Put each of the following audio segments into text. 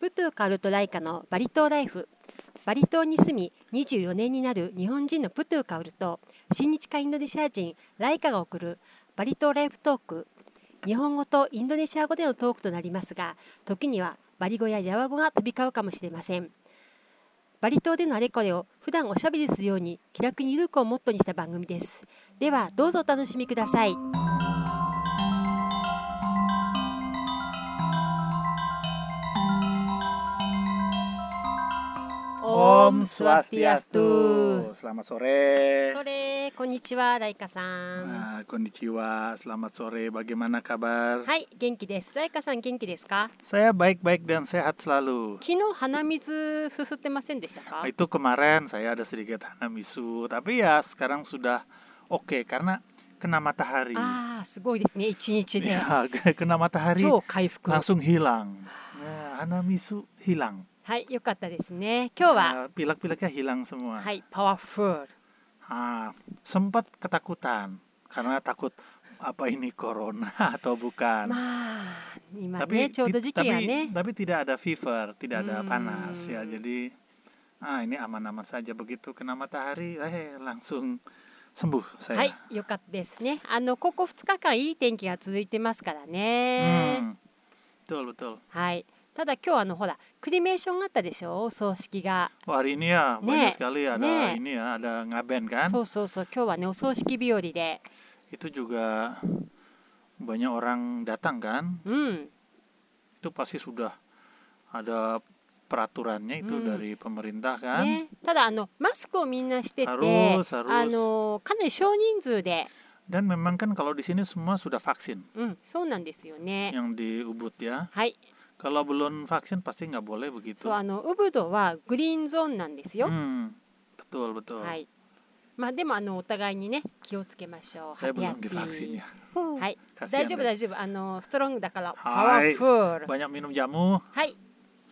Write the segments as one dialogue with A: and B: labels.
A: ウトゥカルトライカのバリ島ライフバリ島に住み24年になる日本人のプトゥーカウルと親日家インドネシア人ライカが送るバリ島ライフトーク日本語とインドネシア語でのトークとなりますが時にはバリ語やジャワ語が飛び交うかもしれませんバリ島でのあれこれを普段おしゃべりするように気楽にゆるくをモットーにした番組ですではどうぞお楽しみください
B: Selamat sore.
A: それこんにちはライカさん
B: Nah, konnichiwa. Selamat sore. Bagaimana kabar?
A: はい元気ですライカさん元気ですか
B: Saya baik-baik dan sehat selalu.
A: 昨日鼻水すすってませんでしたか
B: Itu kemarin saya ada sedikit hanamisu, tapi ya sekarang sudah oke karena kena matahari.
A: ああすごいですね一日で
B: Ya, kena matahari
A: 超回復
B: langsung hilang. Nah, hanamisu hilang.
A: はい良かったですね今日は
B: Nah, Pilak-pilaknya hilang semua.
A: はいパワフル
B: Ah, sempat ketakutan karena takut apa ini corona atau bukan.
A: まあ今
B: tapi
A: ねちょうど時
B: ti-
A: 期や
B: tapi
A: ね
B: tapi tidak ada fever, tidak ada panas
A: ya,
B: ya.
A: Hmm.
B: Jadi ah ini aman-aman saja begitu kena matahari, eh langsung sembuh
A: は
B: saya.
A: い良かったですねあのここ2日間いい天気が続いてますからね
B: Hmm. Betul betul.
A: はいただ今日あのほらクリメーションがあったでしょお葬式が
B: Wah, hari ini ya banyak
A: Nek,
B: sekali ada
A: Nek.
B: ini ya, ada ngaben kan.
A: そうそうそう今日はねお葬式日和で
B: Itu juga banyak orang datang kan.
A: うん、
B: Itu pasti sudah ada peraturannya itu
A: Hmm.
B: dari pemerintah kan.
A: ね、ただあのマスクをみんなしててあ
B: Harus, harus.
A: のかなり少人数で
B: Dan memang kan kalau di sini semua sudah vaksin
A: うん、そうなんですよね。
B: yang di Ubud ya.
A: はい、
B: Kalau belum vaksin pasti nggak boleh begitu.
A: そうあのウブドはグリーンゾーンなんですよ。
B: Hmm, betul betul.
A: はい。まあでもあのお互いにね気をつけましょう。
B: Saya belum
A: ハピハピ
B: divaksin ya.
A: はい、
B: Kasihan
A: 大丈夫
B: deh.
A: 大丈夫あのストロングだからパワ
B: はい
A: フル。
B: Banyak minum jamu.
A: はい。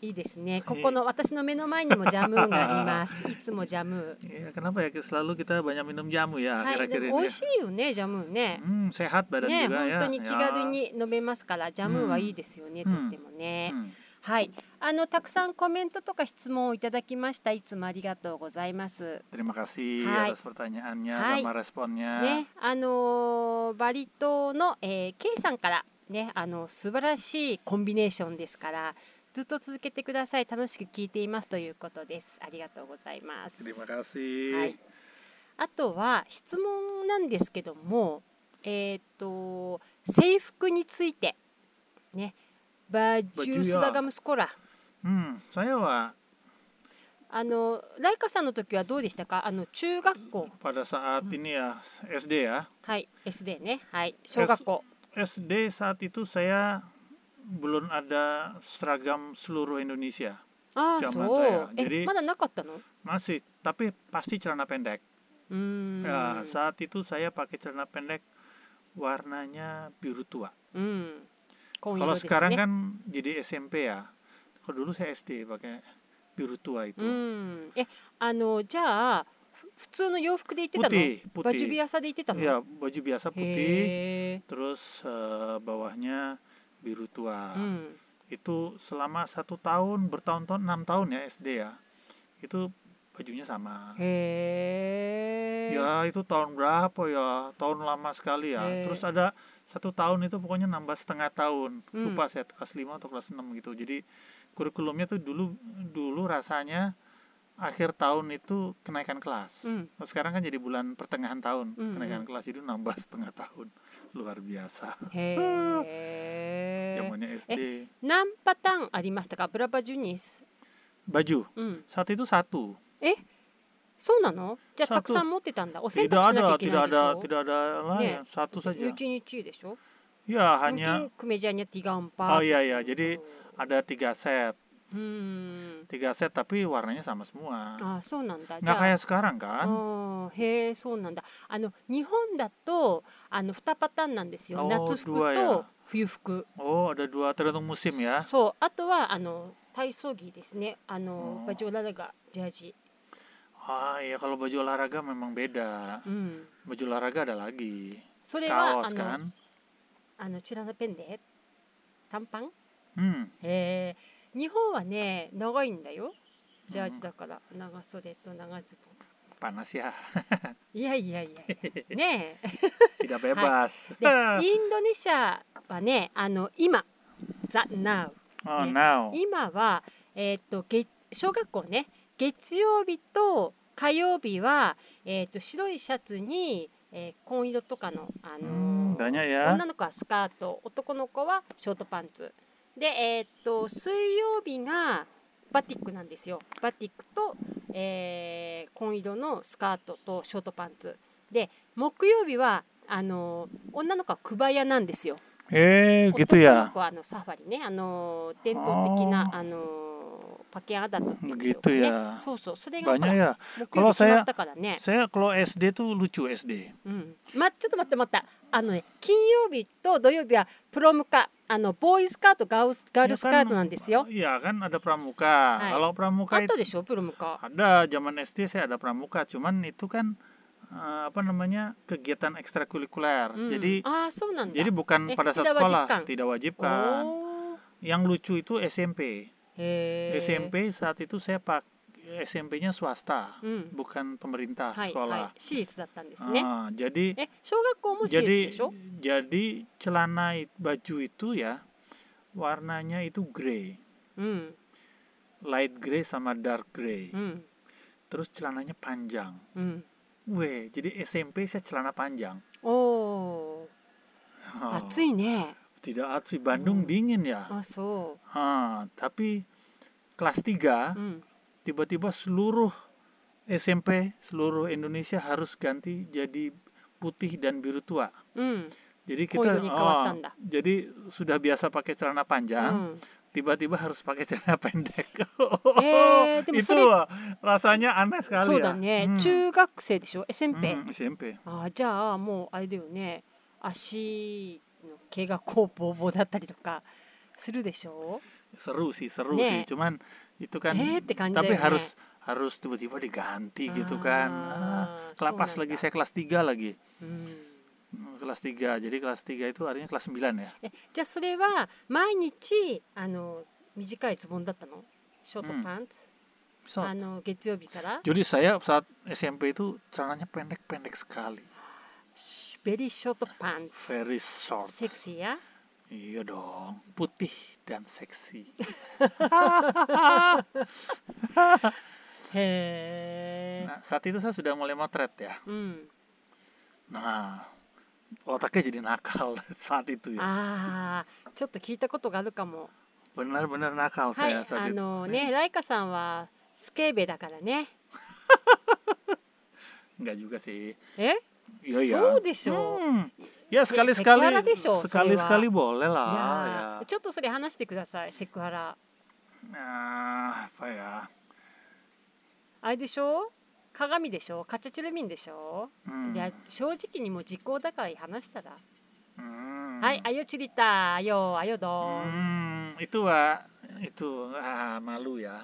A: いいですね。ここの私の目の前にもジャムーンがあります。いつもジャムーン。
B: Iya, kenapa ya selalu kita banyak minum jamu ya
A: はい、でも美
B: akhir-akhir ini. ya.
A: 味しいよねジャムーンね。
B: Hmm, sehat badan
A: ね、
B: juga
A: 本
B: ya.
A: 当に気
B: Ya.
A: 軽に飲めますからジャムーンはいいですよね、
B: うん
A: とってもね。
B: Hmm.
A: はい、あのたくさんコメントとか質問をいただきました。いつもありがとうございます。
B: Terima kasih
A: Hai.
B: atas pertanyaannya
A: Hai.
B: sama responnya.
A: ね、あのーバリ島の、えー、K さんからね、あの素晴らしいコンビネーションですから、ずっと続けてください。楽しく聞いていますということです。ありがとうございます
B: Terima。kasih.
A: はい。あとは質問なんですけども、えっ、と制服についてね、バジュースダガムスコラ。
B: Hmm, saya Wak,
A: あのライカさんの時はどうでしたかあの中学校
B: pada saat
A: Hmm.
B: ini ya SD ya.
A: はい SD ねはい小学校
B: SD saat itu saya belum ada seragam seluruh Indonesia.
A: ああ
B: ジャ
A: そ
B: マンさんや
A: う
B: ジェリ
A: え
B: ー
A: まだなかったのう
B: Masih, tapi pasti celana pendek.
A: ーん
B: Ya, saat itu saya pakai celana pendek warnanya biru tua.
A: うん紺色
B: Kalau
A: ですね
B: sekarang kan jadi SMP ya. Kalau dulu saya SD pakai biru tua
A: う
B: itu.
A: んえあのじゃあふ普通の洋服で行ってたの
B: Putih,
A: バジュビ
B: putih.
A: アサで行ってたの
B: Ya, baju biasa putih,
A: へえ
B: terus eh, bawahnya biru
A: う
B: tua.
A: ん
B: Itu selama satu tahun, bertahun-tahun, enam tahun ya SD ya. Itu bajunya sama.
A: へえ
B: Ya itu tahun berapa ya? Tahun lama sekali ya.
A: Eh.
B: Terus ada satu tahun itu pokoknya nambah setengah tahun.
A: Hmm.
B: Lupa saya kelas 5 atau kelas 6 gitu. Jadi kurikulumnya tuh dulu dulu rasanya akhir tahun itu kenaikan kelas.
A: うん
B: Nah, Sekarang kan jadi bulan pertengahan tahun
A: Hmm,
B: kenaikan kelas itu nambah setengah tahun. Luar biasa.
A: へえ
B: Zamannya SD.
A: 何パターンありましたかブラバジュニス
B: Baju
A: うん
B: saat itu satu.
A: えそうなのじゃあ
B: さあ
A: たくさん持ってたんだお洗
B: Tidak
A: 濯しなきゃ
B: ada,
A: いけない
B: tidak
A: でし
B: ada,
A: ょ
B: tidak ada lain.
A: Nek,
B: Satu saja.
A: うちにちでしょ
B: Ya
A: mungkin
B: hanya
A: kemejanya tiga empat
B: Oh iya iya, jadi ada tiga set.
A: hmm
B: tiga set tapi warnanya sama semua
A: あそうなんだじゃ
B: nggak
A: あ
B: kayak sekarang kan
A: Oh. あーへえそうなんだあの日本だとあの2パターンなんですよ
B: おー
A: 夏服
B: ドアや
A: と冬服
B: oh ada dua tergantung musim ya
A: そうあとはあの体操着ですねあの
B: あー
A: バジョララがジャージ
B: ah ya kalau baju olahraga memang beda
A: うん
B: baju olahraga ada lagi
A: それはあの
B: kaos kan
A: あのチュラナペンデ短パン
B: hmm
A: へえ日本はね長いんだよジャー
B: うん
A: ジだから、長袖と長ズボ
B: panas ya
A: ンいやいやいやい やねえ
B: tidak bebas
A: で インドネシアはねあの今「ザ・ナウ」
B: oh
A: Iya.
B: now
A: 今は、えーっと月小学校ね月曜日と火曜日は、えーっと白いシャツに、えー紺色とかの、あのー
B: Hmm, banyak ya
A: 女の子はスカート男の子はショートパンツで、えーっと水曜日がバティックなんですよバティックと、えー紺色のスカートとショートパンツで木曜日はあのー女の子はクバヤなんですよ
B: eh gitu
A: 男
B: ya
A: の子はあのサファリね、あのー伝統的な
B: あ
A: あのーパキアダットっていうんでしょうか
B: Gitu
A: ね
B: ya.
A: そうそう、それがほら
B: banyak ya
A: 木曜日決まったからね。
B: saya kalau SD tuh lucu SD
A: うん。まちょっと待って待った。あのね、金曜日と土曜日はプロムか、あのボーイスカートガウスガール
B: Ya
A: スカ
B: kan,
A: ートなんですよ。
B: iya kan ada pramuka
A: Hai.
B: kalau pramuka
A: あっ
B: itu
A: たでしょ、プロムか。
B: ada zaman SD saya ada pramuka cuman itu kan eh, apa namanya kegiatan ekstrakurikuler
A: うん
B: jadi
A: ああ、そうなんだ。
B: jadi
A: Hmm. Oh, Eh,
B: bukan pada saat
A: tidak
B: sekolah
A: wajibkan. Oh.
B: tidak
A: お
B: wajibkan
A: ー
B: yang lucu itu SMP
A: へえ。
B: SMP saat itu saya pak SMP-nya swasta
A: うん。
B: bukan pemerintah
A: はいはい。
B: sekolah
A: 私立だったんですね。
B: Ah, jadi
A: え、小学校も私立
B: jadi
A: でしょ。
B: jadi celana i- baju itu ya warnanya itu grey
A: うん
B: light grey sama dark grey
A: うん。
B: terus celananya panjang
A: うん。
B: Weh, jadi SMP saya celana panjang.
A: おお。
B: Oh,
A: 暑いね。
B: Tidak暑,
A: Ah.
B: Bandung
A: Hmm.
B: dingin ya.
A: あ、そ
B: Ah, tapi kelas
A: う。
B: 3
A: うん。
B: tiba-tiba seluruh SMP seluruh Indonesia harus ganti jadi putih dan biru tua.
A: うん。Oh,
B: Jadi kita
A: jadi
B: ah,
A: kelewatan dah. Hmm.
B: jadi sudah biasa pakai
A: う
B: celana
A: ん。
B: panjang, tiba-tiba harus pakai celana pendek.
A: Eh, tapi
B: itu rasanya aneh
A: そう
B: sekali
A: だ
B: ya.
A: ね
B: Hmm.。
A: 中学生でしょ。SMP。
B: Hmm, SMP.
A: あ、じゃあもうあれだよね。足の毛がこうボーボーだったりとかするでしょ。
B: seru sih seru
A: Nek.
B: sih cuman itu kan
A: Iya. Eh, tekan
B: tapi
A: deh,
B: harus harus tiba-tiba diganti gitu kan
A: Ah,
B: ah, kelapas
A: tuh
B: lagi
A: nanda.
B: saya kelas 3 lagi
A: うん。
B: Hmm, kelas 3 jadi kelas 3 itu artinya kelas 9 ya
A: え、じゃあそれは毎日あの短いズボンだったの。ショートパンツ。
B: So,
A: あの月曜日から。
B: jadi saya saat SMP itu celananya pendek-pendek sekali
A: ベリーショートパンツ。
B: very short
A: セクシーや。
B: iya dong putih dan seksi
A: へえ。
B: nah, saat itu saya sudah mulai motret ya
A: うん。
B: nah otaknya jadi nakal saat itu
A: Ah.
B: ya
A: ああ、ちょっと聞いたことがあるかも。
B: benar-benar nakal
A: はい、あ
B: saya saat itu
A: のね、ライカさんはスケベだからね。
B: enggak juga sih
A: え、
B: Iya
A: Suruh
B: ya.
A: deh, Su.
B: Hmm. Ya
A: Se-
B: sekali sekali
A: sekiara deh, Su,
B: sekali
A: Suwa.
B: sekali boleh
A: い
B: lah
A: や
B: ya.
A: ーちょっとそれ話してください、セクハラ。
B: Nah, apa ya?
A: あれでしょ鏡でしょカチャチュルミンでしょ、
B: Hmm.
A: いや、正直にもう時効だから話したら。
B: Hmm.
A: はい、あよちりた、あよ、あよどん。
B: Hmm, itu Wak. itu ah, malu ya.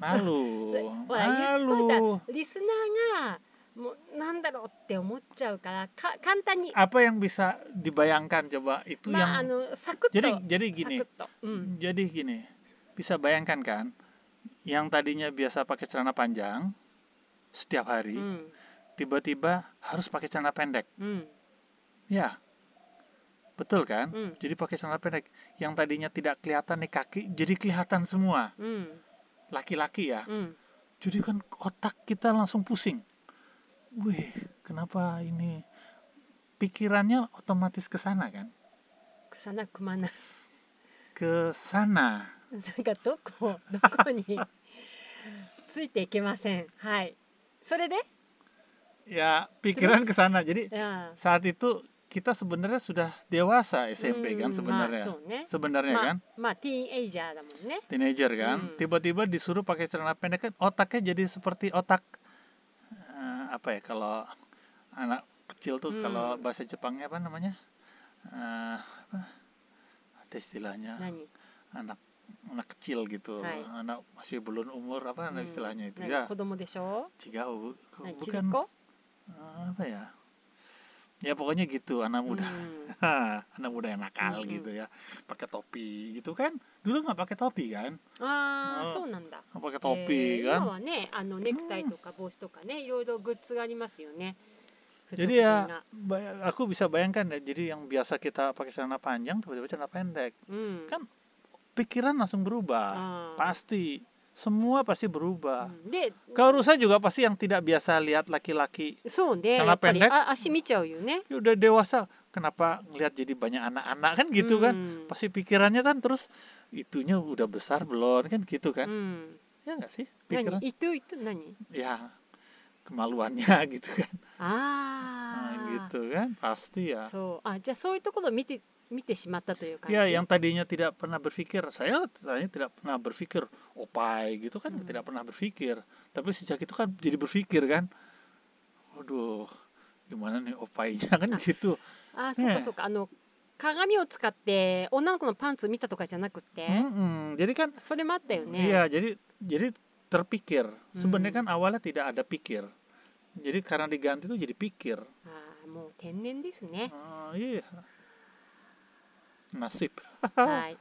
B: Malu.
A: ほら、言っ
B: malu.
A: といた、リスナーが、もうなんだろうって思っちゃうから、か簡単に、
B: Apa yang bisa dibayangkan coba itu
A: まあ、あ
B: yang
A: の、サクッ
B: jadi
A: と、
B: jadi
A: サク
B: gini.
A: ッと。うん。
B: Jadi gini. Bisa bayangkan kan yang tadinya biasa pakai celana panjang setiap
A: う
B: hari
A: ん。
B: tiba-tiba harus pakai celana pendek.
A: うん。
B: Ya, betul kan?
A: Hmm.
B: Jadi pakai celana pendek yang tadinya tidak kelihatan nih kaki, jadi kelihatan semua
A: うん。
B: laki-laki ya.
A: うん。
B: Jadi kan otak kita langsung pusing. Wih, kenapa ini? Pikirannya otomatis ke sana kan?
A: くさなくまな。
B: Ke sana.
A: なんかどこどこについていけません。はい。それで、
B: Ya, pikiran ke sana. Jadi
A: あ
B: saat itu kita sebenarnya sudah dewasa
A: ー
B: SMP
A: う
B: kan
A: んまあ
B: sebenarnya.
A: そうね。
B: Sebenarnya
A: ま
B: kan?
A: あ、まあティーンエイジャーだもんね。
B: teenager kan
A: Hmm.
B: tiba-tiba disuruh pakai celana pendek kan otaknya jadi seperti otak eh, apa ya kalau anak kecil tuh
A: Hmm.
B: kalau bahasa Jepangnya apa namanya Eh, apa ada istilahnya
A: 何？
B: anak anak kecil gitu
A: Nah. Hai.
B: anak masih belum umur apa ada
A: Hmm. Nah,
B: istilahnya itu
A: 何
B: ya
A: 子供でしょ？
B: jigau bu-
A: 何？ちびっ
B: bukan
A: こ？
B: eh, apa ya ya pokoknya gitu anak muda
A: Hmm.
B: Hah, anak muda yang nakal
A: Mm-mm.
B: gitu ya pakai topi gitu kan dulu nggak pakai topi kan
A: あ
B: う
A: あ
B: ん
A: そうなんだ
B: nggak pakai
A: え
B: topi
A: ー
B: kan
A: 今はねあのネクタイとか帽子とかねいろいろグッズがありますよね付
B: jadi
A: 属
B: ya
A: 品が
B: bay- aku bisa bayangkan ya jadi yang biasa kita pakai celana panjang tiba-tiba celana pendek
A: うん
B: かpikiran langsung berubah
A: あー
B: pasti semua pasti berubah
A: うんで
B: kau rusa juga pasti yang tidak biasa lihat laki-laki
A: そうねや
B: チャ
A: っ
B: ラ
A: ぱり
B: ペンね
A: あ足見ちゃうよね
B: ya udah dewasa kenapa ngelihat jadi banyak anak-anak kan
A: う
B: gitu kan
A: ん
B: pasti pikirannya kan terus itunya udah besar belum kan
A: う
B: gitu kan
A: ん
B: ya nggak sih
A: 何
B: pikiran
A: いといと何
B: ya kemaluannya gitu kan
A: あ
B: Nah,
A: あ
B: gitu kan pasti ya
A: そうあじゃあそういうところを見て見てしまったという感じ
B: ya yang tadinya tidak pernah berpikir saya saya tidak pernah berpikir opai gitu kan
A: Hmm.
B: tidak pernah berpikir tapi sejak itu kan jadi berpikir kan waduh gimana nih opainya kan
A: Ah.
B: gitu
A: あーそう
B: ね
A: か
B: え
A: そうかあの鏡を使って女の子のパンツ見たとかじゃなくて、
B: Mm-mm, jadi kan
A: それもあったよね。
B: iya jadi jadi terpikir sebenarnya kan awalnya tidak ada pikir jadi karena diganti tuh jadi pikir
A: あーもう天然ですね。
B: Ah, iya nasib
A: はい。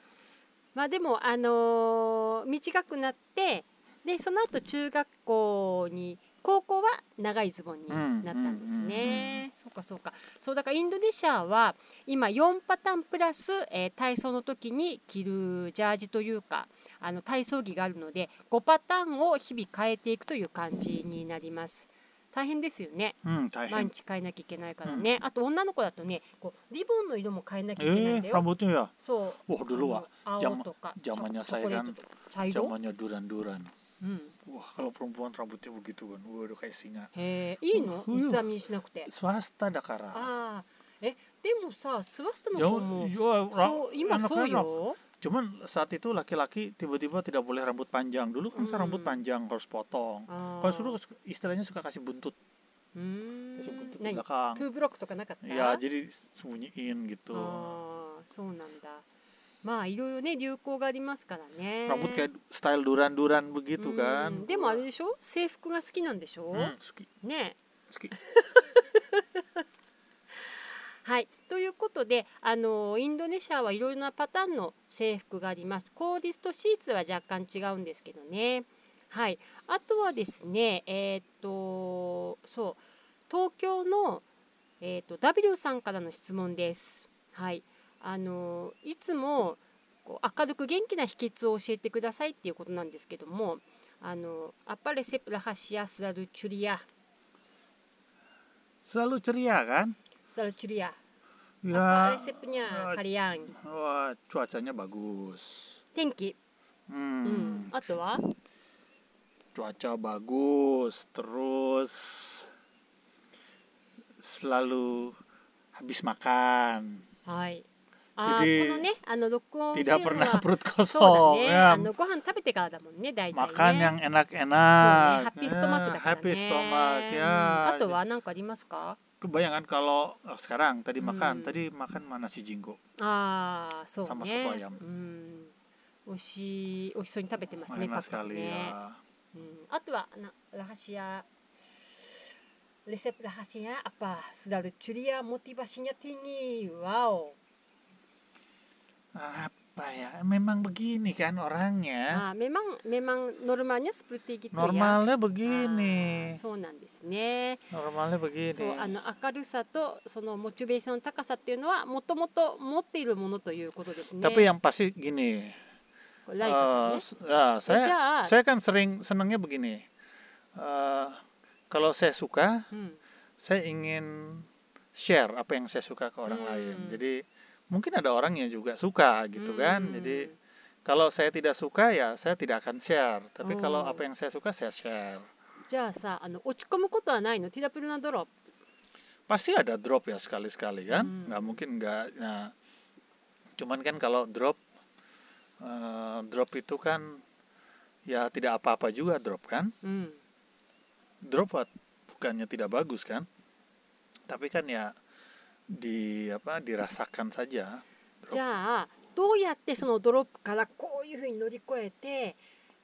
A: まあでもあのー短くなってでその後中学校に高校は長いズボンになったんです
B: うんうんうん
A: ね。そうかそうか。そうだからインドネシアは今4パターンプラス、えー体操の時に着るジャージというかあの体操着があるので5パターンを日々変えていくという感じになります。大変ですよね。
B: hmm, tai
A: 毎日変えなきゃいけないからね、あと女の子だとねこうリボンの色も変えなきゃいけないん
B: eh
A: だよ、
B: rambutnya ya
A: そう
B: wah dulu ah
A: あの青とか
B: ジャマジャマ
A: チョコ
B: ニャサイラ
A: チョコレー
B: ン
A: トとか茶色、
B: kan, zamannya duran-duran
A: うん、
B: Wah, kalau perempuan rambutnya begitu kan. Waduh kayak singa.
A: へえいいの
B: う
A: 三
B: ん
A: つ編みにしなくて
B: Swasta
A: あ
B: Dakara.
A: あえでもさスワスタの子
B: Jauh,
A: も
B: yo, ra-
A: そう今そう
B: anak-anak.
A: よ
B: Cuman saat itu laki-laki tiba-tiba tidak boleh rambut panjang. Dulu kan
A: Hmm.
B: saya rambut panjang harus potong.
A: ああ
B: Kalau dulu istilahnya suka kasih buntut,
A: うーん
B: kasih buntut
A: 何
B: di
A: ト
B: belakang.
A: ゥーブロックとかなかった
B: Ya, jadi sembunyiin gitu.
A: ああそうなんだまあいろいろね流行がありますからね
B: Rambut kayak style duran-duran begitu
A: うん
B: kan.
A: でもあれでしょ制服が好きなんでしょ、
B: Hmm, suki,
A: ねえ
B: suki.
A: はい、ということであのインドネシアはいろいろなパターンの制服がありますコーディストシーツは若干違うんですけどね、はい、あとはですねえーっとそう東京の、えーっと W さんからの質問です、はい、あのいつもこう明るく元気な秘訣を教えてくださいっていうことなんですけどもあのアパレセプラハシアスラルチュリア
B: Selalu ceria kan?
A: スラルチュリア、アパ
B: Ya.
A: レセプニャーカリアン
B: Wah, cuacanya bagus.
A: 天気うん、
B: Hmm.
A: あとは
B: cuaca bagus terus selalu habis makan
A: はいあー
B: で
A: このねあの録音してる
B: tidak
A: の
B: pernah
A: は
B: perut
A: そうだ
B: kosong
A: ね
B: ya.
A: あのご飯食べてからだもんね大体ね
B: makan yang
A: そうね
B: enak-enak
A: ハッピーストマックだから
B: Ya,
A: ね
B: happy stomach
A: うん
B: ya
A: あとは何かありますか
B: kebayangan kalau oh, sekarang tadi makan
A: Hmm.
B: tadi makan mana si jinggo
A: ああそうね
B: サマソバヤム
A: うん美味しい美味しそうに食べてますね
B: enak
A: パクパク
B: sekali
A: ね
B: ya
A: うん、あとはなラハシアレセプラハシアアパスダルチュリアモティバシニャティニーワオ
B: apa ya memang begini kan
A: あー
B: orangnya
A: メマンメマンノルマニャスプルティギトリアあ
B: normalnya begini
A: ーそうなんですね。
B: normalnya
A: そうあ
B: begini
A: の明るさとそのモチベーションの高さっていうのはもともと持っているものということですね。
B: tapi yang pasti gini
A: これライカさんね
B: Eh, s- ah, saya
A: Kerjaan.
B: saya kan sering senangnya begini. Eh, kalau saya suka,
A: うん。
B: saya ingin share apa yang saya suka ke orang
A: Hmm.
B: lain. Jadi mungkin ada orang yang juga suka gitu kan.
A: うん
B: Jadi kalau saya tidak suka ya saya tidak akan share. Tapi kalau
A: Oh.
B: apa yang saya suka saya share.
A: じゃあさあの落ち込むことはないのティラプルナドロップ。
B: Pasti ada drop ya sekali-sekali kan.
A: Hmm.
B: Nggak mungkin nggak. Nah, cuman kan kalau drop eh, drop itu kan ya tidak apa-apa juga drop kan.
A: うん。
B: drop out bukannya tidak bagus kan tapi kan ya di apa dirasakan saja
A: じゃあどうやってそのドロップからこういうふうに乗り越えて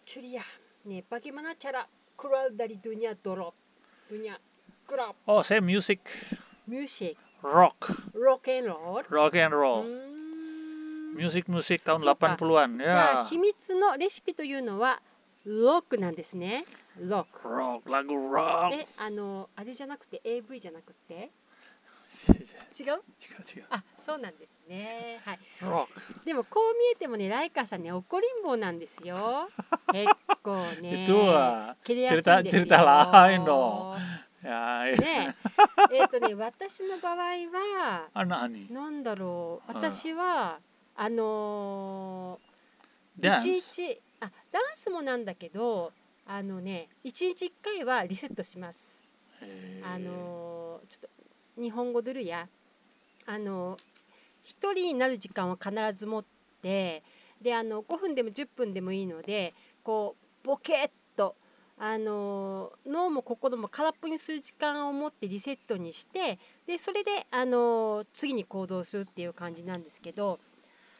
A: チュリアねバキマナチャラクラルダリドゥニャドロップドゥニャクラップ
B: oh saya music
A: ミューシック
B: rock,
A: rock and roll
B: rock and
A: う
B: roll,
A: ーん
B: musik-musik tahun
A: Suka.
B: 80-an
A: じゃあ
B: ya.
A: 秘密のレシピというのはロックなんですねロック
B: Rock, lagu rock.
A: えあのあれじゃなくて AV じゃなくて違う
B: Ciga, ciga.
A: あそうなんですねはい
B: rock.
A: でもこう見えてもねライカさんね怒りん坊なんです よ結構ね
B: Itu ah.
A: 切れやすいん
B: cerita
A: ですよ
B: cerita lain dong. Ya, iya.
A: ねええっとね私の場合は
B: anak ani.
A: なんだろう
B: うん
A: 私は、あのー、一
B: Dance.
A: 日あダンスもなんだけどあのね一日一回はリセットします。
B: Eh,
A: あのーちょっと日本語ドルやあのー一人になる時間は必ず持ってであの5分でも10分でもいいのでこうボケっとあのー脳も心も空っぽにする時間を持ってリセットにしてでそれであのー次に行動するっていう感じなんですけど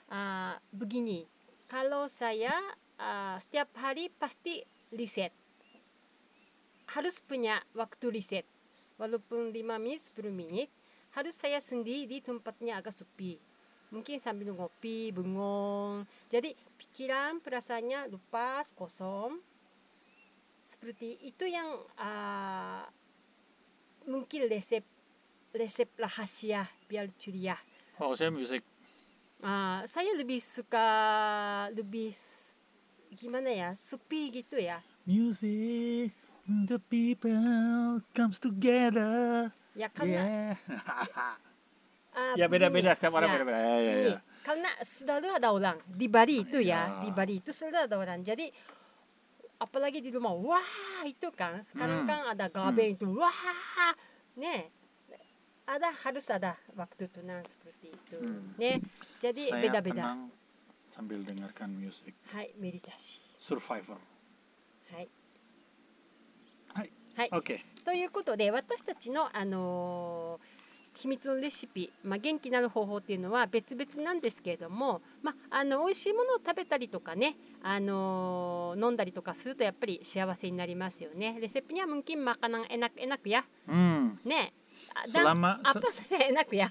A: あーブギニkalau saya uh, setiap hari pasti riset. Harus punya waktu riset. Walaupun 5 menit, 10 menit, harus saya sendiri di tempatnya agak sepi. Mungkin sambil ngopi, bengong. Jadi pikiran, perasaannya lepas, kosong. Seperti itu yang uh, mungkin resep resep rahasia biar curiah.
B: Oh, saya musik.
A: Ah, saya lebih suka lebih s- gimana ya supi gitu ya
B: Music. The people comes together.
A: ya karena
B: Yeah.
A: ah,
B: Iya. ya beda-beda
A: begini,
B: setiap orang
A: ya,
B: beda-beda. Ya, ya,
A: begini,
B: ya.
A: karena selalu ada orang di Bali itu ya,
B: Ya.
A: di Bali itu selalu ada orang jadi apalagi di rumah wah itu kan sekarang
B: Hmm.
A: kan ada gaben itu wah ne ada harus ada waktu tenang seperti itu
B: Hmm.
A: ne jadi
B: Saya
A: beda-beda
B: tenang sambil dengarkan musik
A: hai meditasi
B: Survivor.
A: はい
B: はい
A: はい
B: Oke.
A: ということで私たちの、あのー秘密のレシピ、まあ、元気になる方法っていうのは別々なんですけれども、まあ、あの美味しいものを食べたりとかね、あのー飲んだりとかするとやっぱり幸せになりますよね。レセプには mungkin makanan enak enak ya
B: Hmm.
A: ねあだ
B: Selama se-
A: apa saja enak ya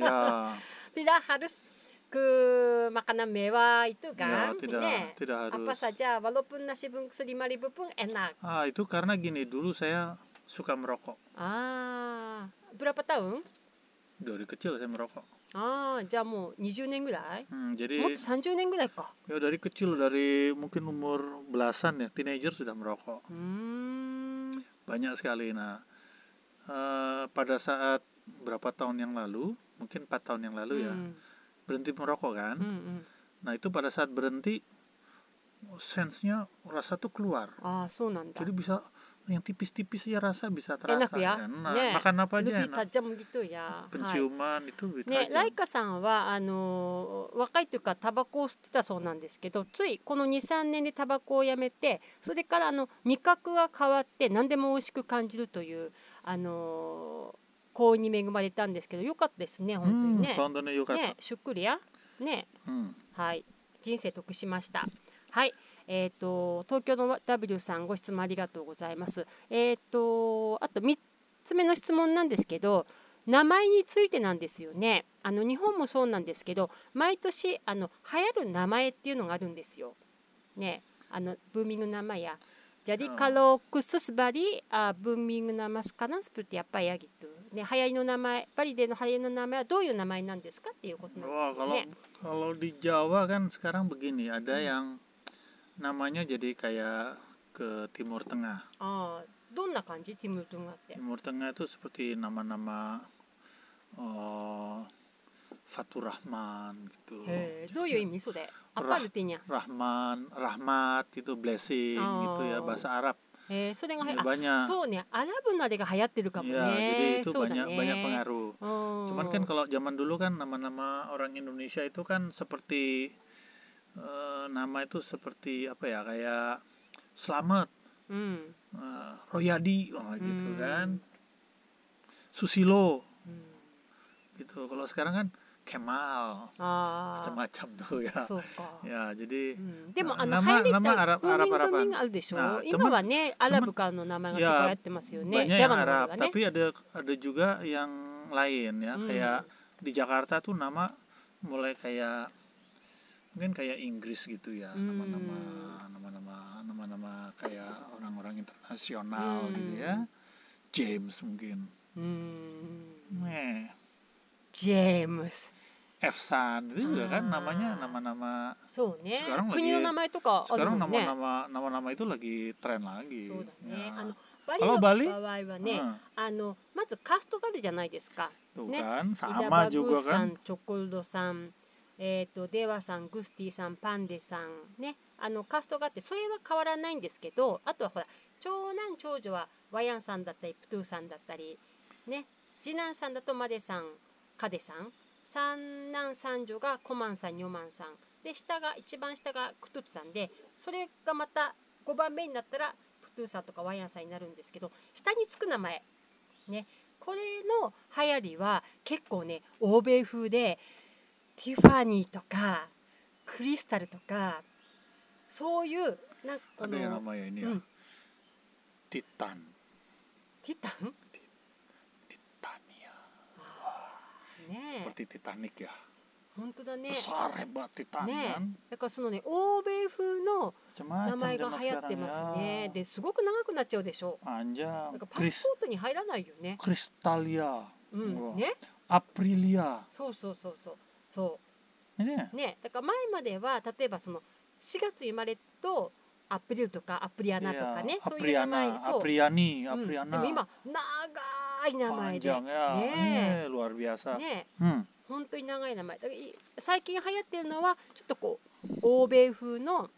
B: ya
A: tidak harus ke makanan mewah itu
B: ya
A: kan
B: tidak
A: ne
B: tidak harus.
A: apa saja walaupun nasi bungkus 5000 pun enak
B: Ah, itu karena gini dulu saya suka merokok.
A: ah berapa tahun
B: Dari kecil saya merokok.
A: ああじゃあもう20年ぐらいも
B: Hmm,
A: っ
B: jadi
A: と30年ぐらいか
B: ya dari kecil dari mungkin umur belasan ya teenager sudah merokok.
A: うーん
B: Banyak sekali nah. eh, pada saat berapa tahun yang lalu, mungkin 4 tahun yang
A: うん
B: lalu ya, berhenti merokok kan.
A: うんうん、
B: Nah, itu pada saat berhenti sensenya rasa tuh keluar.
A: ああそうなんだ
B: Jadi bisa yang tipis-tipis ya rasa bisa terasa
A: Enak ya.
B: kan. Nah,
A: Nih,
B: makan apa
A: ルビ
B: aja
A: ー
B: enak.
A: タジャムギトや、は
B: Penciuman itu
A: い
B: gitu
A: ね、
B: aja.
A: ライカさんはあのー若いというかタバコを吸ってたそうなんですけどついこの23年でタバコをやめてそれからあの味覚が変わって何でも美味しく感じるという、あのー幸運に恵まれたんですけどよかったですね本当
B: Hmm,
A: にね。
B: tontonnya Yukata.
A: ねシュクリアね
B: Hmm.
A: はい、人生得しました。はい、えっ、と東京の W さんご質問ありがとうございます。えっ、とあと三つ目の質問なんですけど、名前についてなんですよね。あの日本もそうなんですけど、毎年あの流行る名前っていうのがあるんですよ。ね、あのブーミング名前や。Jadi
B: Ah.
A: kalau khusus Bali, ah, booming nama sekarang seperti apa ya gitu. ね、流行りの名前、バリでの流行りの名前はどういう名前なんですかっていうことなんで
B: Wah,
A: すよ
B: kalau
A: ね。
B: kalau di Jawa kan sekarang begini, ada
A: Hmm.
B: yang namanya jadi kayak ke Timur Tengah.
A: ああどんな感じティム・トゥンガって。
B: Timur Tengah itu seperti nama-nama eh Fatur Rahman gitu.
A: へえどういう意味それアパルティニャ。
B: Rahman, Rahmat itu blessing
A: Oh.
B: gitu ya bahasa Arab.
A: へえそれがは
B: Ya,
A: や、あ
B: banyak.
A: そうねアラブのあれが流行ってるかも
B: Ya, jadi
A: ね。
B: itu
A: そうだ
B: banyak
A: ね。
B: banyak pengaruh.
A: うん
B: Cuman kan kalau zaman dulu kan nama-nama orang Indonesia itu kan seperti eh, nama itu seperti apa ya kayak Selamat,
A: うん。
B: eh, Royadi wah, gitu
A: Hmm.
B: kan. Susilo
A: うん、
B: gitu. Kalau sekarang kan Kemal
A: ああ
B: macam-macam tuh ya.
A: そうか。う
B: Ya, jadi
A: ん、でも
B: な
A: あの流
B: 生
A: 行りってブ
B: 生ア
A: ー
B: ラ
A: ミング
B: アラブ
A: ブーミングあるでしょ
B: なあ
A: 今はねアラブからの名前が結構流行ってますよね。
B: banyak
A: ジャ
B: yang
A: マの名
B: Arab,
A: 前がね。
B: tapi ada ada juga yang lain ya
A: Hmm.
B: kayak di Jakarta tuh nama mulai kayak mungkin kayak Inggris gitu ya
A: Hmm.
B: nama-nama nama-nama nama-nama kayak orang-orang internasional
A: Hmm.
B: gitu ya James mungkin
A: Hmm.
B: eh
A: James
B: Efsan itu juga kan
A: Ah.
B: namanya nama-nama
A: そうね
B: Sekarang lagi-
A: 国の名前とかある
B: sekarang
A: もんね
B: nama-nama nama-nama itu lagi tren lagi
A: そうだね
B: Ya.
A: あの
B: あら
A: バ
B: バ
A: リ
B: リ
A: の場合はね、
B: Hmm.
A: あのまずカーストがあるじゃないですか
B: Tuh
A: Ne,
B: kan
A: イダ
B: sama
A: バグ
B: juga
A: ーさ
B: kan
A: んチョコルドさんえー、とデワさんグスティさんパンデさんねあのカーストがあってそれは変わらないんですけどあとはほら長男長女はワヤンさんだったりプトゥーさんだったりね次男さんだとマデさんカデさん三男三女がコマンさんニョマンさんで下が一番下がクトゥツさんでそれがまた5番目になったらプトゥーさんとかワヤンさんになるんですけど下につく名前ねこれの流行りは結構ね欧米風でティファニーとかクリスタルとかそういうなんかこ
B: ada yang
A: の
B: namanya ini ya
A: Hmm.
B: Titan
A: ティタン
B: Titania
A: ねえ
B: seperti Titanic ya
A: 本当だね
B: besar hebat Titan
A: ね
B: kan
A: だからそのね欧米風の
B: Macam-macam
A: 名前が
B: zaman
A: 流行って
B: sekarang
A: ます
B: ya
A: ねですごく長くなっちゃうでしょ
B: Anjang
A: なんかパ
B: Kris
A: スポートに入らないよね
B: Kristalia
A: う
B: うんわ
A: ね
B: Aprilia
A: そうそうそうそうそう
B: ini ya? Iya.
A: ね、だから前までは例えばその4月生まれとアプリルとかアプリアナとかね、そういう名
B: Apriana
A: 前そう、
B: Apriani
A: うんで
B: Apriana
A: も今長い名前で
B: panjang ya
A: ね
B: Eh, luar biasa
A: えねえ
B: Hmm.
A: 本当に長い名前だからい最近流行ってるのはちょっとこう欧米風の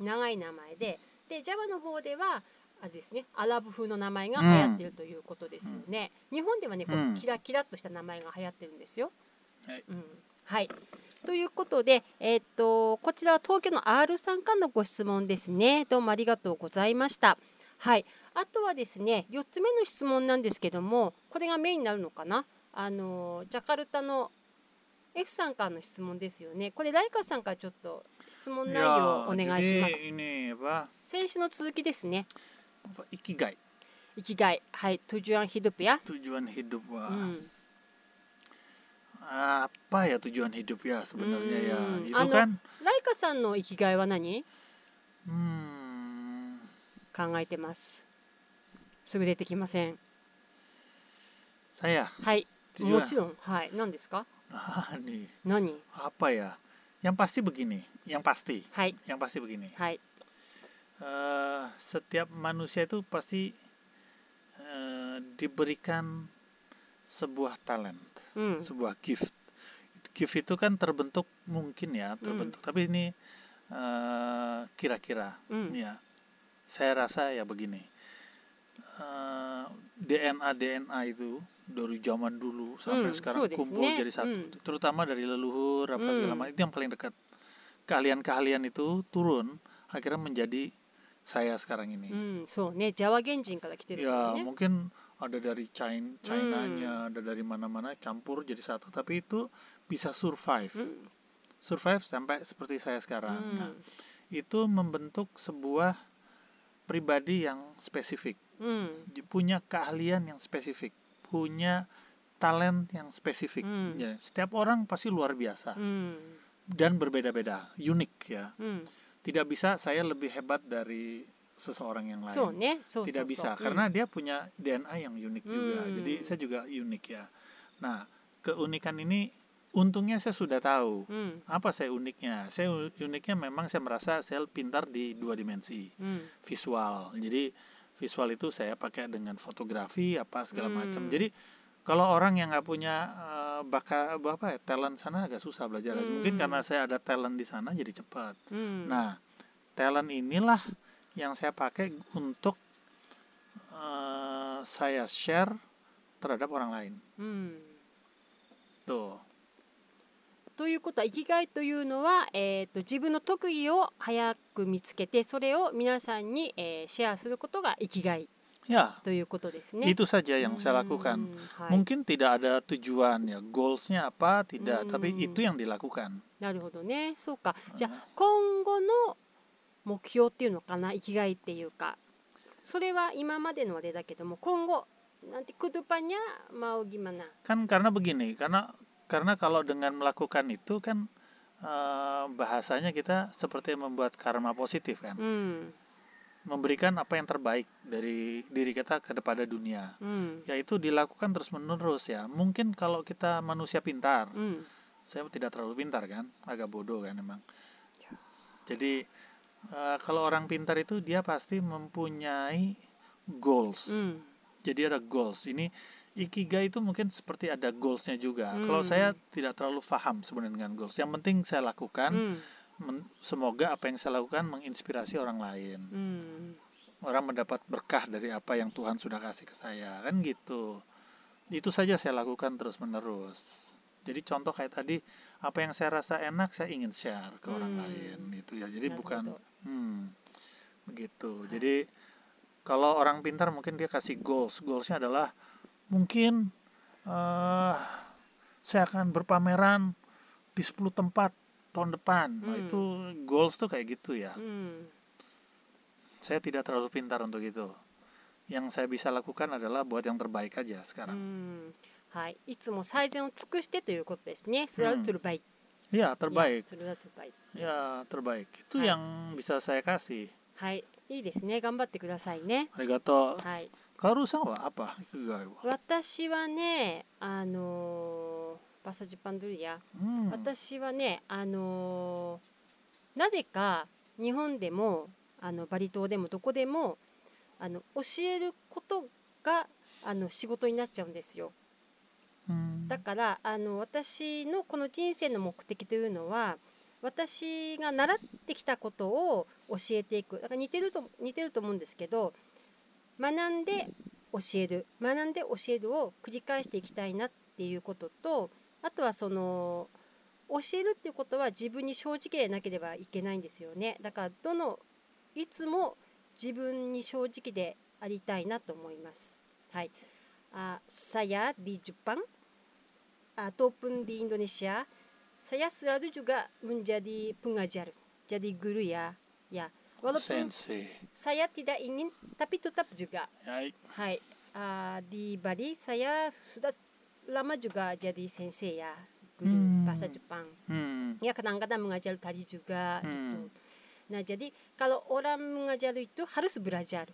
A: 長い名前でで Java の方ではあれですねアラブ風の名前が流行ってるということですよね、日本ではねこ
B: うん
A: うキラキラっとした名前が流行ってるんですよ。
B: はい
A: うんはいということで、えーっとこちらは東京の R さんからのご質問ですねどうもありがとうございました。はい、あとはですね4つ目の質問なんですけどもこれがメインになるのかなあのジャカルタの F さんからの質問ですよねこれライカさんからちょっと質問内
B: Ya,
A: 容をお願いしま
B: jadi
A: す
B: ini apa,
A: 先週の続きですね
B: apa ikigai
A: 生きがいはいトゥジュアンヒドゥペア
B: tujuan hidup
A: う
B: wah.
A: ん
B: apa ya tujuan hidup ya sebenarnya ya
A: Hmm,
B: itu
A: anu-
B: kan
A: ライカさんの生きがいは何
B: hmm,
A: 考えてますすぐ出てきません
B: saya
A: はいも
B: tujuan
A: ちろんはい何ですか
B: Ah, nih
A: 何
B: apa ya yang pasti begini yang pasti
A: はい
B: yang pasti begini
A: はい
B: Eh, setiap manusia itu pasti eh, diberikan sebuah talent
A: うん、
B: sebuah gift gift itu kan terbentuk mungkin ya terbentuk
A: Hmm.
B: tapi ini eh, kira-kira
A: うん、
B: Ya, saya rasa ya begini. Eh, DNA DNA itu dari zaman dulu
A: Hmm,
B: sampai sekarang
A: so
B: kumpul
A: desu ne.
B: jadi satu,
A: Hmm.
B: terutama dari leluhur apa segala
A: Hmm.
B: macam itu yang paling dekat. Keahlian-keahlian itu turun akhirnya menjadi saya
A: う
B: sekarang ini.
A: ん、そうねジャワ原人から来てるから
B: Ya,
A: ね
B: mungkin ada dari China, Chinanya, ada dari mana-mana campur jadi satu, tapi itu bisa survive.
A: うん、
B: Survive sampai seperti saya
A: う
B: sekarang.
A: ん
B: Nah, itu membentuk sebuah pribadi yang spesifik,
A: うん、
B: punya keahlian yang spesifik, punya talent yang spesifik.
A: Hmm.
B: Ya, setiap orang pasti luar biasa
A: うん、
B: dan berbeda-beda, unik ya.
A: うん、
B: Tidak bisa saya lebih hebat dari seseorang yang lain.
A: そうね、そうそうそう
B: Tidak bisa
A: うん
B: karena dia punya DNA yang unik juga.
A: Iya. Hmm.
B: Jadi saya juga unik ya. Nah, keunikan ini untungnya saya sudah tahu.
A: うん、
B: Apa saya uniknya? Saya u- uniknya memang saya merasa saya pintar di dua dimensi.
A: うん、
B: visual. Jadi visual itu saya pakai dengan fotografi apa segala macam.
A: Hmm.
B: Jadi kalau orang yang nggak punya eh, baka apa ya, talent sana agak susah belajar. Mungkin
A: Hmm.
B: karena saya ada talent di sana jadi cepat.
A: うん、
B: Nah, talent inilah yang saya pakai untuk eh, saya share terhadap orang lain.
A: うん。
B: Tuh.
A: ということは生きがいというのは、えー、と自分の特技を早く見つけてそれを皆さんに、えーシェアすることが生きがい
B: Ya,
A: ということですね。
B: itu saja yang saya lakukan.
A: うんはい
B: Mungkin tidak ada tujuan ya, goalsnya apa tidak, tapi
A: Hmm.
B: itu yang dilakukan.
A: なるほどねそうかじゃあ今後の目標っていうのかな生きがいっていうかそれは今までのあれだけども今後 nanti kedepannya mau gimana?
B: kan karena begini karena karena kalau dengan melakukan itu kan eh, bahasanya kita seperti membuat karma positif kan
A: Hmm,
B: memberikan apa yang terbaik dari diri kita kepada dunia
A: hmm,
B: yaitu Ya, dilakukan terus menerus ya mungkin kalau kita manusia pintar
A: hmm.
B: saya tidak terlalu pintar kan agak bodoh kan emang
A: Ya.
B: jadi eh, kalau orang pintar itu dia pasti mempunyai goals
A: Hmm.
B: jadi ada goals ini ikigai itu mungkin seperti ada goalsnya juga
A: Hmm.
B: kalau saya tidak terlalu paham sebenarnya dengan goals yang penting saya lakukan
A: Hmm.
B: men- semoga apa yang saya lakukan menginspirasi orang lain
A: Hmm.
B: orang mendapat berkah dari apa yang Tuhan sudah kasih ke saya kan gitu itu saja saya lakukan terus menerus jadi contoh kayak tadi apa yang saya rasa enak saya ingin share ke orang
A: Hmm.
B: lain gitu ya jadi
A: Benar,
B: bukan
A: betul.
B: hmm, begitu jadi kalau orang pintar mungkin dia kasih goals goalsnya adalah mungkin eh, saya akan berpameran di 10 tempat tahun depan Nah,
A: Hmm.
B: itu goals tuh kayak gitu ya
A: Hmm.
B: saya tidak terlalu pintar untuk itu. Yang saya bisa lakukan adalah buat yang terbaik aja
A: う
B: sekarang.
A: んはい、いつも最善を尽くしてということですね。それはトゥルバイ。
B: Ya,
A: いや
B: terbaik.
A: それはトゥルバイ。
B: Ya, terbaik. Itu
A: Hai.
B: yang bisa saya kasih.
A: はい、いいですね。頑張ってくださいね。
B: Arigato.
A: はい、
B: Karusan wa apa? Ikigai wa?
A: 私はね、あのーバサジパンドゥリア。
B: Hmm.
A: 私はね、あのーなぜか日本でもあのバリ島でもどこでもあの教えることがあの仕事になっちゃうんですよ。
B: Hmm.
A: だからあの私のこの人生の目的というのは私が習ってきたことを教えていくだから似てると似てると思うんですけど学んで教える学んで教えるを繰り返していきたいなっていうこととあとはその教えるっていうことは自分に正直でなければいけないんですよねだからどのいつも自分に正直でありたいなと思います。はい、あさやディジュパン ataupun di Indonesia, saya selalu juga menjadi pengajar, jadi guru ya. Ya, walaupun
B: Sensei.
A: saya tidak ingin, tapi tetap juga.
B: Hai.
A: Hai, ah, di Bali saya sudah lama juga jadi sensei ya, guru
B: Hmm.
A: bahasa Jepang.
B: Hmm.
A: Ya kadang-kadang mengajar tari juga
B: Hmm.
A: gitu. Nah jadi kalau orang mengajar itu harus belajar.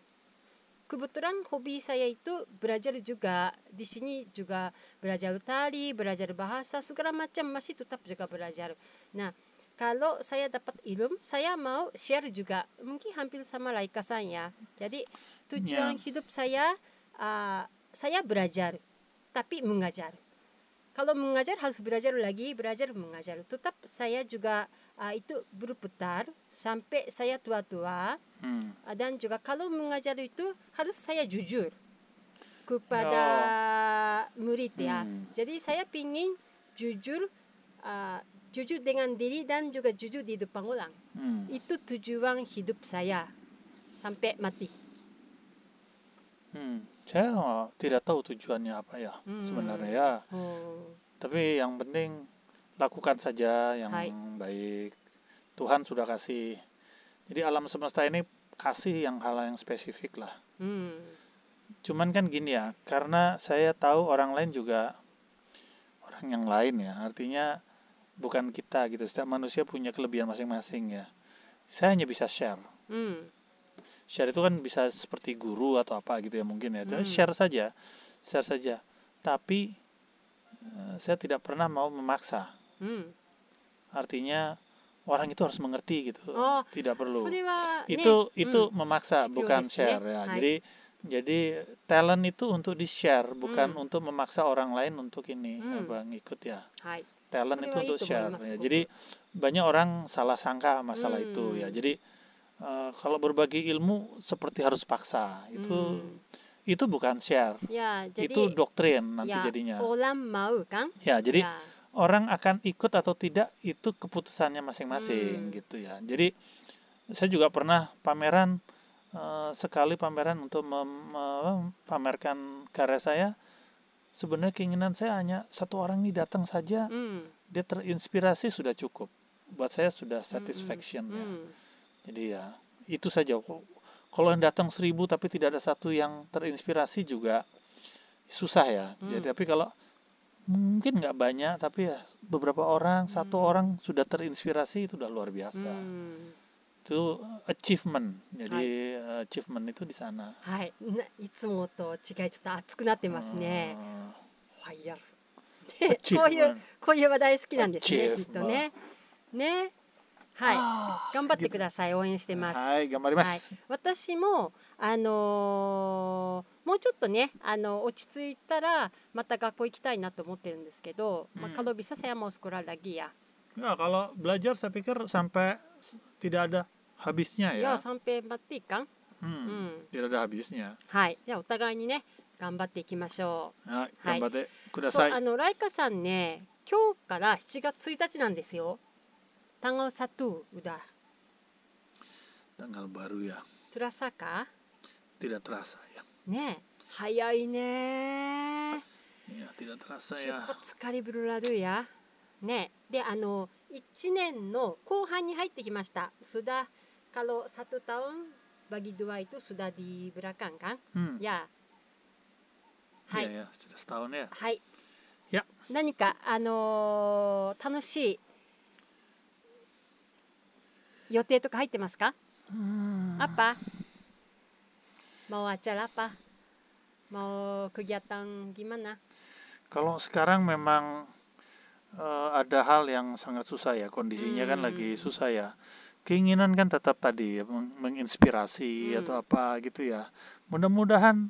A: Kebetulan hobi saya itu belajar juga di sini juga belajar tari, belajar bahasa segala macam masih tetap juga belajar. Nah kalau saya dapat ilmu saya mau share juga mungkin hampir sama Laika san ya. Jadi tujuan
B: Ya.
A: hidup saya ah, saya belajar tapi mengajar. Kalau mengajar harus belajar lagi, belajar mengajar. Tetap saya juga ah, itu berputar sampai saya tua-tua.
B: Hmm.
A: Ah, Dan juga kalau mengajar itu harus saya jujur kepada murid ya.
B: Hmm.
A: Jadi saya ingin jujur, ah, jujur dengan diri dan juga jujur di depan orang.
B: Hmm.
A: Itu tujuan hidup saya sampai mati.
B: Hmm. Saya eh, tidak tahu tujuannya apa ya
A: Hmm.
B: sebenarnya ya.
A: Oh,
B: Tapi yang penting lakukan saja yang
A: Hai.
B: baik. Tuhan sudah kasih. Jadi alam semesta ini kasih yang hal yang spesifik lah.
A: hmm,
B: Cuman kan gini ya, karena saya tahu orang lain juga orang yang lain ya. Artinya bukan kita gitu. Setiap manusia punya kelebihan masing-masing ya. Saya hanya bisa share.
A: hmm,
B: Share itu kan bisa seperti guru atau apa gitu ya mungkin ya. Jadi
A: Hmm.
B: Share saja, share saja. Tapi eh, saya tidak pernah mau memaksa.
A: hmm.
B: artinya orang itu harus mengerti gitu
A: Oh,
B: tidak perlu
A: それは、ね、
B: itu itu
A: うん
B: memaksa
A: Still
B: bukan
A: this,
B: share
A: yeah.
B: ya
A: Hai.
B: jadi jadi talent itu untuk di share bukan
A: Hmm.
B: untuk memaksa orang lain untuk ini
A: Hmm.
B: apa ngikut ya
A: はい。
B: talent
A: Sorry,
B: itu
A: Wai,
B: untuk
A: itu
B: share
A: boleh
B: ya.
A: masuk.
B: jadi banyak orang salah sangka masalah itu ya
A: Hmm.
B: jadi eh, kalau berbagi ilmu seperti harus paksa itu
A: Hmm.
B: itu bukan share
A: Ya, jadi
B: itu doktrin nanti
A: ya,
B: jadinya
A: orang mau kan?
B: ya jadi
A: ya.
B: orang akan ikut atau tidak itu keputusannya masing-masing
A: Hmm.
B: gitu ya. Jadi saya juga pernah pameran eh, sekali pameran untuk memamerkan karya saya. Sebenarnya keinginan saya hanya satu orang ini datang saja,
A: Hmm,
B: dia terinspirasi sudah cukup. Buat saya sudah
A: hmm,
B: satisfaction ya.
A: hmm.
B: Jadi ya itu saja. Kalau yang datang seribu tapi tidak ada satu yang terinspirasi juga susah ya
A: Hmm.
B: jadi tapi kalau mungkin nggak banyak tapi ya beberapa orang satu
A: Hmm.
B: orang sudah terinspirasi itu udah luar biasa
A: うん、
B: itu achievement jadi achievement itu di sana
A: はい、ないつもと違いちょっと熱くなってますね。
B: Hmm.
A: ファイヤーでこうい
B: Achievement
A: うこういう話題好きなんですね。きっ
B: Achievement
A: とね。ね。はい。
B: Ah,
A: 頑張って
B: gitu.
A: ください。応援してます。
B: はい頑張ります、
A: 私もあのーもうちょっとねあの落ち着いたらまた学校行きたいなと思ってるんですけど、まあ
B: うん
A: kalau bisa saya mau sekolah lagi ya.
B: Ya, kalau belajar saya pikir sampai s- tidak ada habisnya
A: Ya
B: ya.
A: sampai mati kan?
B: Hmm,
A: うん。
B: Tidak ada habisnya.
A: はい。じゃあお互いにね頑張っていきましょう。
B: Nah,
A: Hai.
B: gambarnya
A: そう
B: kudasai.
A: あのライカさんね今日から7月1日なんですよ。単語サトゥウダ
B: Tanggal baru ya,
A: トゥラサカ
B: tidak terasa ya.
A: ね早いね
B: Ya, tidak terasa
A: 出
B: ya.
A: 発カリブルラルーヤねであの1年の後半に入ってきましたスダカロサトタウンバギドゥワイとスダディブラカンカン
B: Hmm.
A: いや
B: Ya,
A: はい、
B: ya, sudah setahun ya.
A: はい
B: いや
A: 何かあのー楽しい予定とか入ってますか、アッパもうあちゃらパもうクギアタンギマナ
B: Kalau sekarang memang eh, ada hal yang sangat susah ya, kondisinya kan
A: Hmm.
B: lagi susah ya. Keinginan kan tetap tadi ya, meng- menginspirasi
A: Hmm.
B: atau apa gitu ya. Mudah-mudahan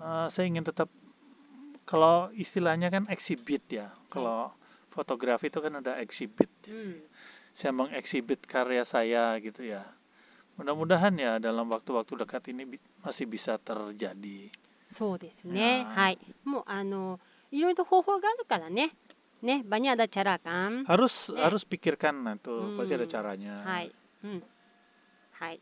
B: eh, saya ingin tetap kalau istilahnya kan exhibit ya. Kalau
A: Hmm.
B: fotografi itu kan ada exhibit.
A: うん
B: Saya mengeksibit karya saya gitu ya. Mudah-mudahan ya dalam waktu-waktu dekat ini bi- masih bisa terjadi.
A: そうですね。
B: いやー
A: はい。もうあのいろいろと方法があるからね。ね、バニャダチャラカン。
B: Harus
A: Eh.
B: harus pikirkan nah, tuh pasti ada
A: Hmm.
B: caranya.
A: はい。うん。はい。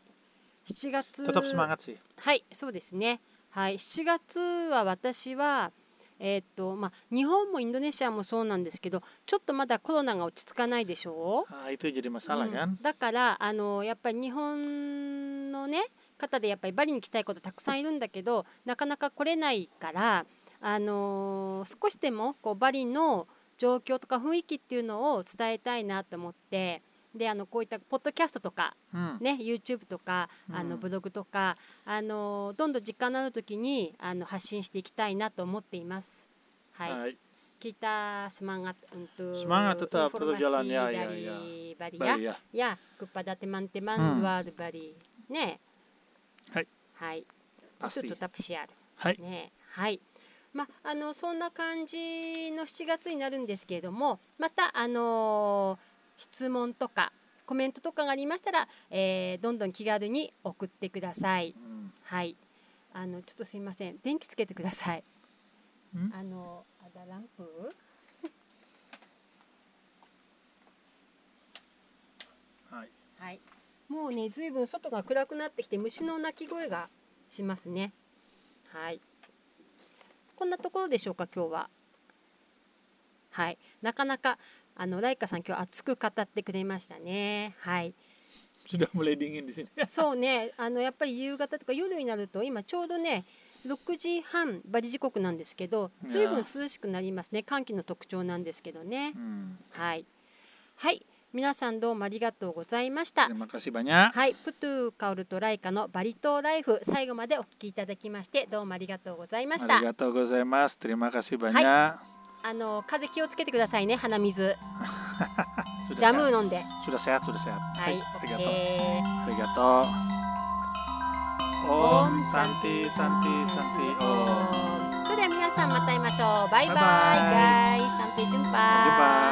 A: 7月。
B: tetap semangat sih
A: はい、そうですね。はい、7月は私は。えーっとまあ、日本もインドネシアもそうなんですけどちょっとまだコロナが落ち着かないでしょう
B: Ah, itu jadi masalah
A: うん
B: kan
A: だからあのやっぱり日本のね方でやっぱりバリに来たいことたくさんいるんだけどなかなか来れないからあの少しでもこうバリの状況とか雰囲気っていうのを伝えたいなと思ってであのこういったポッドキャストとか、
B: hmm.
A: ね、YouTube とかあの
B: うん
A: ブログとか、あのどんどん時間のある時にあの発信していきたいなと思っています。はい、
B: Hai.
A: kita semangat untuk
B: Semangat tetap, tetap
A: informasi
B: jalan, ya, ya,
A: dari
B: ya.
A: Bali ya.
B: Baik ya
A: Ya, kepada teman-teman
B: Hmm.
A: luar Bali. Ne.
B: Hai.
A: Hai. Itu
B: pasti
A: tetap share.
B: はい。
A: ね。はい。まあのそんな感じの7月になるんですけれども、またあの質問とかコメントとかがありましたら、えーどんどん気軽に送ってください。
B: Hmm.
A: はい。あのちょっとすいません。電気つけてください。
B: ん
A: あのあだランプ？
B: Hai.
A: はい。もうねずいぶん外が暗くなってきて虫の鳴き声がしますね。はい。こんなところでしょうか今日は。はい。なかなかあのライカさん今日熱く語ってくれましたね。はい。
B: sudah mulai dingin di sini
A: そう ね、あのやっぱり夕方とか夜になると今ちょうどね6時半バリ時刻なんですけど
B: いやー
A: 随分涼しくなりますね寒気の特徴なんですけどね
B: Hmm.
A: はいはい皆さんどうもありがとうございました
B: terima kasih banyak
A: はいプトゥーカオルとライカのバリ島ライフ最後までお聞きいただきましてどうもありがとうございましたあ
B: Arigatou gozaimasu terima kasih banyak
A: の風邪気をつけてくださいね鼻水
B: sudah
A: ジャム
B: sehat.
A: ー飲んで
B: sudah sehat sudah sehat
A: はい
B: arigatou
A: OK
B: arigatou Om Santi Santi Santi Om
A: それでは皆さんまた会いましょうバイバイ
B: バイバイ
A: ガイサンペイジュンパ
B: ジュンパ